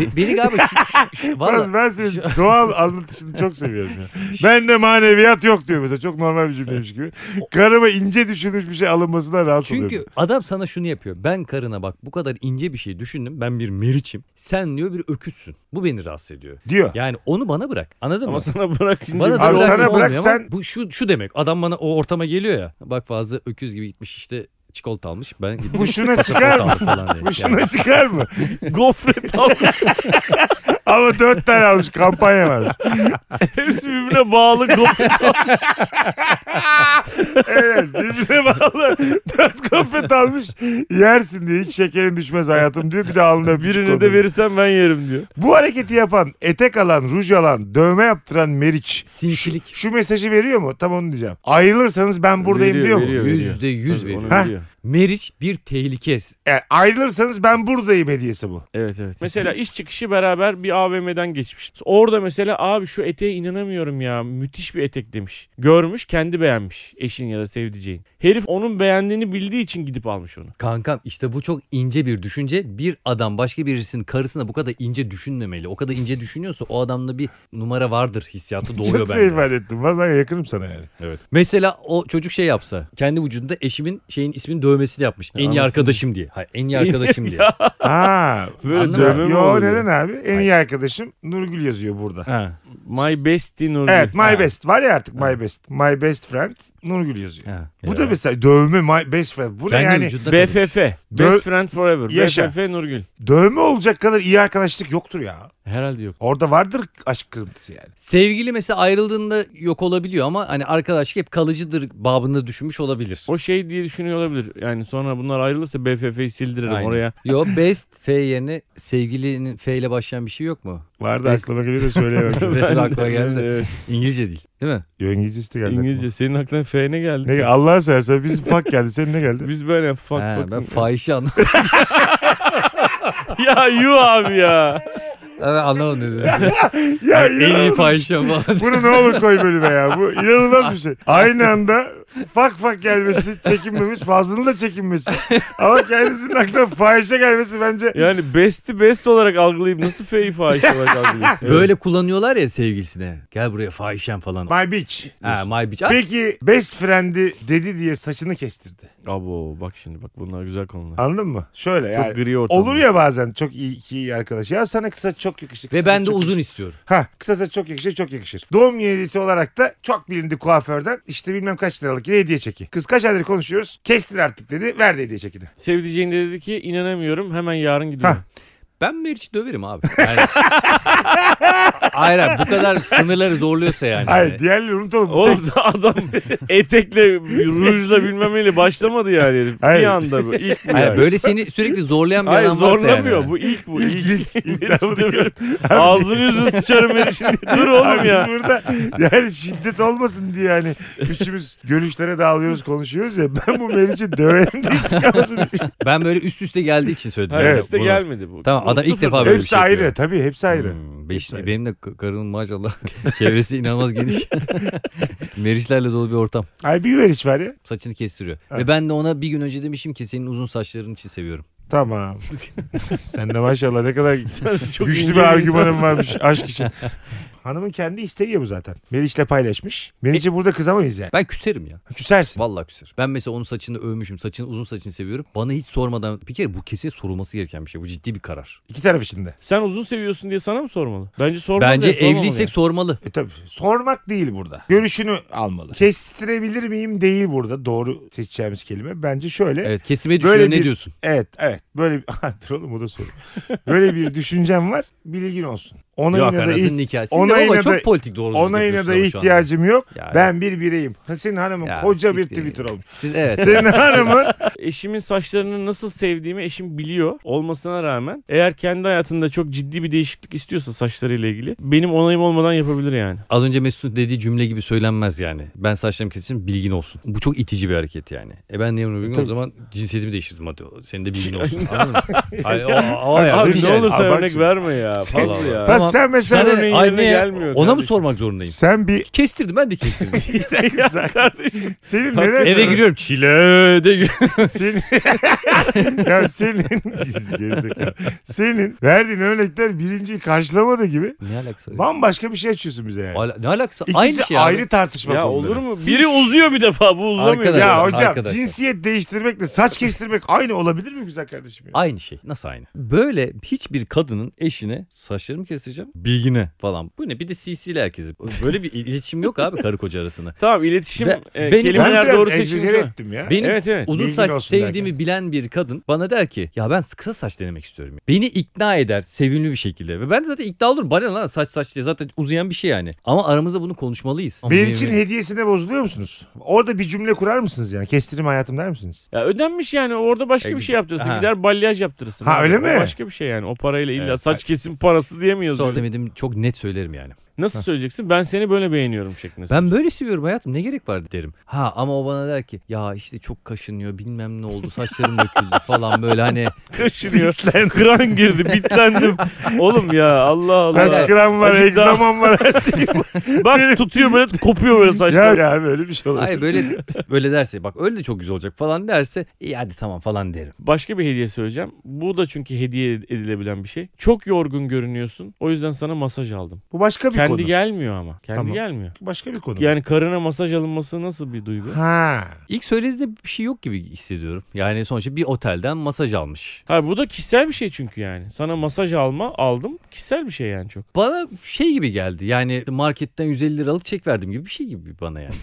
Be- beni galiba şu, şu- şu-
Biraz
valla-
ben senin doğal anlatışını çok seviyorum ya. Ben de maneviyat yok diyor mesela. Çok normal bir cümleymiş gibi. Karıma ince düşünmüş bir şey alınmasına rahatsız oluyorum.
Çünkü adam sana şunu yapıyor. Ben karına bak bu kadar ince bir şey düşündüm. Ben bir meriçim. Sen diyor bir öküzsün. Bu beni rahatsız ediyor.
Diyor.
Yani onu bana bırak. Anladın
Ama
mı?
sana bırakınca
Bana da
Abi
bir
sana
olmuyor
bırak
ama
sen-
Bu şu, şu demek. Adam bana o ortama geliyor ya. Bak fazla öküz gibi gitmiş işte çikolata almış. Ben gittim.
Bu
(laughs)
şuna
pasaport
çıkar mı?
aldım falan diye.
Bu
Yani
şuna çıkar mı?
(laughs) gofret almış.
Ama dört tane almış kampanya var.
Hepsi birbirine bağlı gofret.
Evet birbirine bağlı dört konfet almış yersin diye hiç şekerin düşmez hayatım diyor bir de alnına
Birini de verirsen ben yerim diyor.
Bu hareketi yapan etek alan ruj alan dövme yaptıran Meriç
Sinsilik.
şu mesajı veriyor mu? Tam onu diyeceğim. Ayrılırsanız ben buradayım
Veriyor,
diyor mu?
veriyor, veriyor.
Yüzde yüz
Tabii, onu
veriyor.
Ha?
veriyor.
Meriç bir tehlike.
Yani E, ayrılırsanız ben buradayım hediyesi bu.
Evet evet. Mesela iş çıkışı beraber bir AVM'den geçmiş. Orada mesela abi şu eteğe inanamıyorum ya. Müthiş bir etek demiş. Görmüş kendi beğenmiş. Eşin ya da sevdiceğin. Herif onun beğendiğini bildiği için gidip almış onu.
Kankam işte bu çok ince bir düşünce. Bir adam başka birisinin karısına bu kadar ince düşünmemeli. O kadar ince düşünüyorsa o adamda bir numara vardır hissiyatı doğuyor
Çok şey
bence.
ifade ettim. Vallahi yakınım sana yani.
Evet. Mesela o çocuk şey yapsa. Kendi vücudunda eşimin şeyin isminin dövmesini yapmış. en iyi
anasını-
arkadaşım diye. Hayır, en iyi arkadaşım diye.
Ha.
Böyle
anladım.
dövme mi
Yo
olur ya?
neden abi? En iyi arkadaşım Nurgül yazıyor burada.
Ha.
My bestie Nurgül.
Evet my
Ha.
best var ya artık my best. My best friend Nurgül yazıyor.
Ha.
Bu da mesela dövme my best friend. Bu ne
Kendi
yani?
vücudunda kalmış.
BFF. Best
Dö-
friend forever.
Yaşa.
BFF Nurgül.
Dövme olacak kadar iyi arkadaşlık yoktur ya.
Herhalde yok.
Orada vardır aşk kırıntısı yani.
Sevgili mesela ayrıldığında yok olabiliyor ama hani arkadaşlık hep kalıcıdır babında düşünmüş olabilir.
O şey diye düşünüyor olabilir. Yani sonra bunlar ayrılırsa BFF'yi sildiririm
Aynen.
oraya.
Yo best F yerine sevgilinin F ile başlayan bir şey yok mu?
Vardı
Biz-
aklıma geliyor da (laughs) söyleyemem.
(laughs) Benim
Ben de-
aklıma geldi.
Evet.
İngilizce değil. Değil mi?
Yo, İngilizcesi de geldi.
İngilizce. Senin aklına F ne geldi?
aklıma. Ne, Allah'a seversen biz fuck geldi. Senin ne geldi?
Biz böyle fuck
Ha,
fuck.
ben fahişe anlamadım.
ya yu abi ya.
ben anlamadım ne dedi.
(laughs) ya
en iyi
inanılmaz.
fahişe falan.
Bunu ne olur koy bölüme ya. Bu inanılmaz bir şey. Aynı anda fak fak gelmesi, çekinmemiş, fazlının da çekinmesi. Ama kendisinin aklına fahişe gelmesi bence
Yani best'i best olarak algılayıp nasıl F'yi fahişe olarak algılıyorsun?
Böyle kullanıyorlar ya sevgilisine. Gel buraya fahişem falan.
my bitch.
Ha, my bitch. Ay,
Peki best friend'i dedi diye saçını kestirdi.
Abo bak şimdi bak bunlar güzel konular.
Anladın mı? Şöyle yani.
Çok gri ortam.
Olur ya bazen çok iyi iki iyi arkadaş. Ya sana kısa çok yakışır.
Ve
kısa
ben de
çok
uzun
yakışır.
istiyorum.
Ha kısa saç çok yakışır çok yakışır. Doğum günü hediyesi olarak da çok bilindik kuaförden işte bilmem kaç liralık yine hediye çeki. Kız kaç aydır konuşuyoruz kestir artık dedi verdi hediye çekini.
Sevdiceğin de dedi ki inanamıyorum hemen yarın
Hah.
gidiyorum.
Ben Meriç'i döverim abi. Yani... (laughs) hayır hayır, bu kadar sınırları zorluyorsa yani.
Hayır
Hani-
diğerleri unutalım. Tek-
Oğlum da (laughs) adam etekle rujla bilmem neyle başlamadı yani. herif. Bir
Hayır.
anda bu ilk bu
Hayır,
yani.
böyle seni sürekli zorlayan bir
Hayır
adam varsa
zorlamıyor
yani.
bu ilk bu
İlk,
ilk.
ilk,
(laughs)
ilk
Herif
lafı
de böyle,
diyor.
Ağzını yüzünü sıçarım ben şimdi. Dur oğlum
Abi
ya.
biz burada yani şiddet olmasın diye hani üçümüz görüşlere dağılıyoruz konuşuyoruz ya ben bu Meriç'i döverim diye çıkamasın.
Ben böyle üst üste geldiği için söyledim.
Hayır
Evet,
üste
bunu.
gelmedi bu.
Tamam,
Bu
adam ilk
sıfır.
defa böyle- bir
hepsi
şey
ayrı
diyor.
tabii hepsi ayrı.
Hmm, beş-
Hepsi ayrı.
benim de ka- karımın maşallah (laughs) çevresi inanılmaz geniş. (laughs) Meriçlerle dolu bir ortam.
Ay bir Meriç var ya.
Saçını kestiriyor.
Evet.
Ve ben de ona bir gün önce demişim ki senin uzun saçların için seviyorum.
Tamam. (laughs) Sen de maşallah ne kadar
Çok
Güçlü
ince
bir argümanım
insan.
varmış aşk için. Hanımın kendi isteği ya bu zaten. Meriç'le paylaşmış. Meriç'e burada kızamayız yani.
Ben küserim ya.
Küsersin.
Vallahi küserim. Ben mesela onun saçını övmüşüm. Saçını uzun saçını seviyorum. Bana hiç sormadan bir kere bu kesin sorulması gereken bir şey. Bu ciddi bir karar.
İki taraf içinde.
Sen uzun seviyorsun diye sana mı sormalı? Bence sormalı.
Bence evliysek sormalı.
E tabii sormak değil burada. Görüşünü almalı. Kestirebilir miyim değil burada. Doğru seçeceğimiz kelime. Bence şöyle. Evet
Evet kesime düşüyor
Böyle
ne
bir-
diyorsun?
evet. Böyle bir... (laughs) Ha, Dur oğlum o da soru. Böyle bir düşüncem var. Bilgin olsun. Ona
Yok
yine de
anasının nikahı. Siz de
ona
baba
yine de-
çok politik doğruculuk
ona yine de
yapıyorsunuz ama şu anda.
ihtiyacım yok.
Ya,
Ben bir bireyim. Ha, Senin hanımın
Ya,
koca bir
siktir
Twitter
ya.
olmuş.
Siz evet. (laughs)
Senin hanımın
Eşimin saçlarını nasıl sevdiğimi eşim biliyor olmasına rağmen eğer kendi hayatında çok ciddi bir değişiklik istiyorsa saçlarıyla ilgili benim onayım olmadan yapabilir yani.
Az önce Mesut'un dediği cümle gibi söylenmez yani. Ben saçlarımı keseceğim bilgin olsun. Bu çok itici bir hareket yani. E ben niye bunu bilmiyorum? o
tabii.
zaman cinsiyetimi değiştirdim hadi.
(laughs)
Senin de bilgin olsun. Anladın mı? Hayır, o- o- o-
Abi
yani
Abi
bir
ne
şey.
olur-
olursa
Aa, bak
örnek
şimdi.
verme ya.
Sen-
Fazla ya.
Pas
Tamam.
Sen mesela
Sen örneğin yerine
Aynaya-
gelmiyor
ona mı
kardeşim.
sormak zorundayım?
sen bir
Kestirdim ben de kestirdim.
(laughs) ya kardeşim.
senin
Bak,
neden
Eve giriyorum çile de
Senin, (laughs) ya senin, (laughs) gerizekalı. senin verdiğin örnekler birinciyi karşılamadı gibi
Ne alakası?
bambaşka bir şey açıyorsun bize yani.
Ala- Ne alakası?
İkisi
Aynı şey abi.
ayrı tartışma
Ya
konuları.
olur mu? Biri uzuyor bir defa bu uzamıyor.
Arkadaş.
Ya
Arkadaşlar,
hocam
arkadaşlar.
cinsiyet değiştirmekle saç kestirmek aynı olabilir mi güzel kardeşim? ya?
Aynı şey. Nasıl aynı? Böyle hiçbir kadının eşine saçlarımı kestireceğim. Bilgine falan. Bu ne? Bir de CC'li herkesi. Böyle bir iletişim yok abi karı koca arasında.
Tamam iletişim
Ve-
e,
benim-
kelimeler
biraz
doğru
egzajere
seçilmiş. ama.
ettim ya.
Benim
Evet, evet.
uzun
Bilgin
saç
olsun
sevdiğimi
derken.
bilen bir kadın bana der ki ya ben kısa saç denemek istiyorum. Beni ikna eder sevimli bir şekilde. Ve ben de zaten ikna olurum. Bana ne lan saç saç diye zaten uzayan bir şey yani. Ama aramızda bunu konuşmalıyız.
Benim için hediyesine bozuluyor musunuz? Orada bir cümle kurar mısınız yani? Kestirim hayatım der misiniz?
Ya ödenmiş yani orada başka
E,
bir şey yaptırırsın.
ha.
Gider balyaj yaptırırsın.
Ha,
Abi,
öyle
o
mi?
Başka bir şey yani. O parayla illa
Evet.
saç kesim parası diyemiyoruz.
Son
öyle.
istemediğim çok net söylerim yani.
Nasıl söyleyeceksin? Ben seni böyle beğeniyorum şeklinde. (laughs)
Ben böyle seviyorum hayatım ne gerek var derim. Ha ama o bana der ki ya işte çok kaşınıyor bilmem ne oldu saçlarım döküldü falan böyle (laughs) hani.
kaşınıyor. Kıran girdi.
(laughs)
Bitlendim. Oğlum ya Allah Allah.
Saç kıran var,
Acıdı.
egzaman var her
(laughs)
şey var.
Bak tutuyor böyle kopuyor böyle
ya,
saçlar.
ya abi öyle bir şey olur.
Hayır böyle böyle derse bak öyle de çok güzel olacak falan derse iyi hadi tamam falan derim.
Başka bir hediye söyleyeceğim. Bu da çünkü hediye edilebilen bir şey. Çok yorgun görünüyorsun. O yüzden sana masaj aldım.
Bu başka bir
Kendi
konu.
gelmiyor ama. Kendi
Tamam.
gelmiyor.
başka bir konu.
Yani karına masaj alınması nasıl bir duygu?
Ha.
İlk söylediği de bir şey yok gibi hissediyorum. Yani sonuçta bir otelden masaj almış.
Ha bu da kişisel bir şey çünkü yani. Sana masaj alma aldım. Kişisel bir şey yani çok.
Bana şey gibi geldi yani marketten 150 liralık çek verdim gibi bir şey gibi bana (laughs) yani.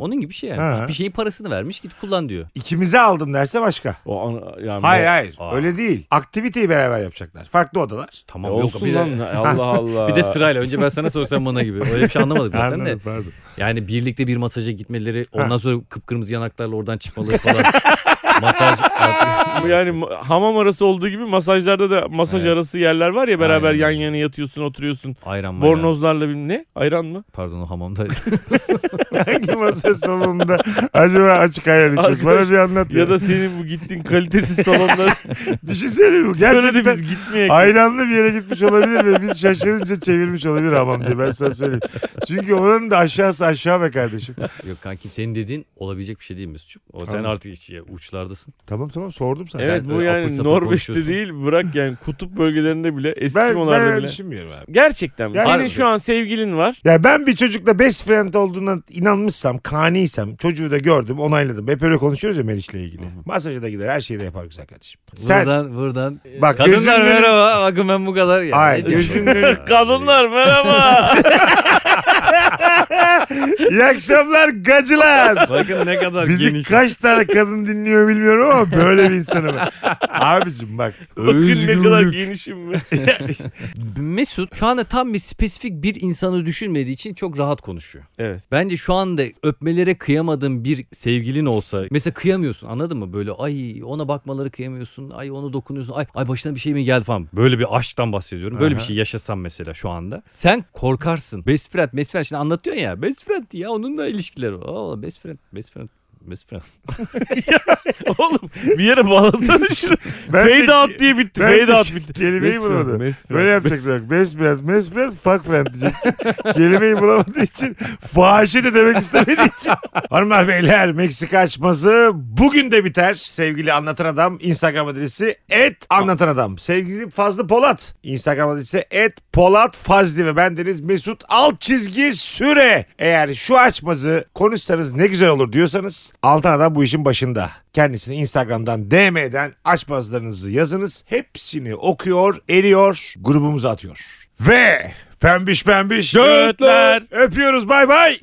Onun gibi bir şey yani.
Ha.
Bir şeyin parasını vermiş git kullan diyor.
İkimize aldım derse başka.
O an, yani
Hayır
bu-
hayır.
Aa.
Öyle değil. Aktiviteyi beraber yapacaklar. Farklı odalar.
Tamam
E,
yok
olsun
bir de-
lan.
(laughs)
Allah Allah.
Bir de sırayla önce ben sana sorsam bana gibi. Öyle bir şey anlamadık zaten de.
Anladım, pardon. (laughs)
Yani birlikte bir masaja gitmeleri ondan sonra kıpkırmızı yanaklarla oradan
(laughs)
çıkmaları falan. Masaj.
Bu yani ma- hamam arası olduğu gibi masajlarda da masaj
Evet.
arası yerler var ya beraber
Aynen.
yan yana yatıyorsun oturuyorsun.
Ayran mayran.
Bornozlarla bilmem ne. Ayran mı?
Pardon o hamamdaydı.
Hangi masa salonunda acaba açık ayran içiyoruz? Bana
Arkadaş,
bir anlat ya.
Ya da senin bu gittiğin kalitesiz
(laughs)
salonlara
Düşünsene bu.
(laughs) söyle de
Gerçekten
biz
(laughs)
gitmeyek.
ayranlı bir yere gitmiş olabilir ve biz şaşırınca çevirmiş olabilir hamam diye ben sana söyleyeyim. Çünkü oranın da aşağısı aşağı be kardeşim.
(laughs) Yok kankim senin dediğin olabilecek bir şey değil Mesut'cum. O sen
Tamam.
artık işte uçlardasın.
Tamam tamam sordum sana.
Evet
Sen
bu
öyle
yani
apır sapır
Norveç'te
konuşuyorsun.
değil bırak yani kutup bölgelerinde bile
ben, ben
Eskimo'larda
öyle
bile.
düşünmüyorum abi.
Gerçekten mi?
Yani-
Senin şu an sevgilin var.
Ya ben bir çocukla best friend olduğuna inanmışsam, kaniysem, çocuğu da gördüm, onayladım. Hep öyle konuşuyoruz ya Meriç'le ilgili. Masaja da gider, her şeyi de yapar güzel kardeşim. Sen
Buradan buradan.
bak gözünün
Kadınlar
önüne-
merhaba bakın ben bu kadar. Ya.
Ay,
Ne diyorsun?
gözünün önüne-
(laughs)
(laughs)
Kadınlar merhaba.
İyi akşamlar
(laughs)
gacılar.
Bakın ne kadar
Bizi
geniş.
kaç tane kadın dinliyor bilmiyorum ama böyle bir insanım.
(laughs)
ben. Abicim bak.
Bakın ne kadar
Özgürlük.
genişim ben.
Mesut şu anda tam bir spesifik bir insanı düşünmediği için çok rahat konuşuyor.
Evet.
Bence şu anda öpmelere kıyamadığın bir sevgilin olsa mesela kıyamıyorsun anladın mı? Böyle ay ona bakmaları kıyamıyorsun. Ay onu dokunuyorsun. Ay, ay başına bir şey mi geldi falan. Böyle bir aşktan bahsediyorum. Böyle bir şey yaşasam mesela şu anda. Sen korkarsın. Best friend, best friend. Şimdi anlatıyorsun ya. Best friend ya onunla ilişkiler. Aa, best friend, best friend. Best friend.
Oğlum bir yere bağlasana şunu.
Ben
Fade
tek-
out diye bitti.
ben
Fade
tek
out bitti.
Kelimeyi
Best friend,
bulamadı.
best friend.
Böyle yapacaklar. Best friend, best friend, fuck friend diyecek. Kelimeyi bulamadığı için fahişe de demek istemediği için. (laughs) Hanımlar beyler Meksika açması bugün de biter. Sevgili Anlatan Adam Instagram adresi et Anlatan Adam. Sevgili Fazlı Polat Instagram adresi et Polat Fazlı ve bendeniz Mesut alt çizgi süre. Eğer şu açmazı konuşsanız ne güzel olur diyorsanız Altan Adam bu işin başında. Kendisini Instagram'dan DM'den açmazlarınızı yazınız. Hepsini okuyor, eriyor, grubumuza atıyor. Ve pembiş pembiş
Götler.
öpüyoruz bay bay.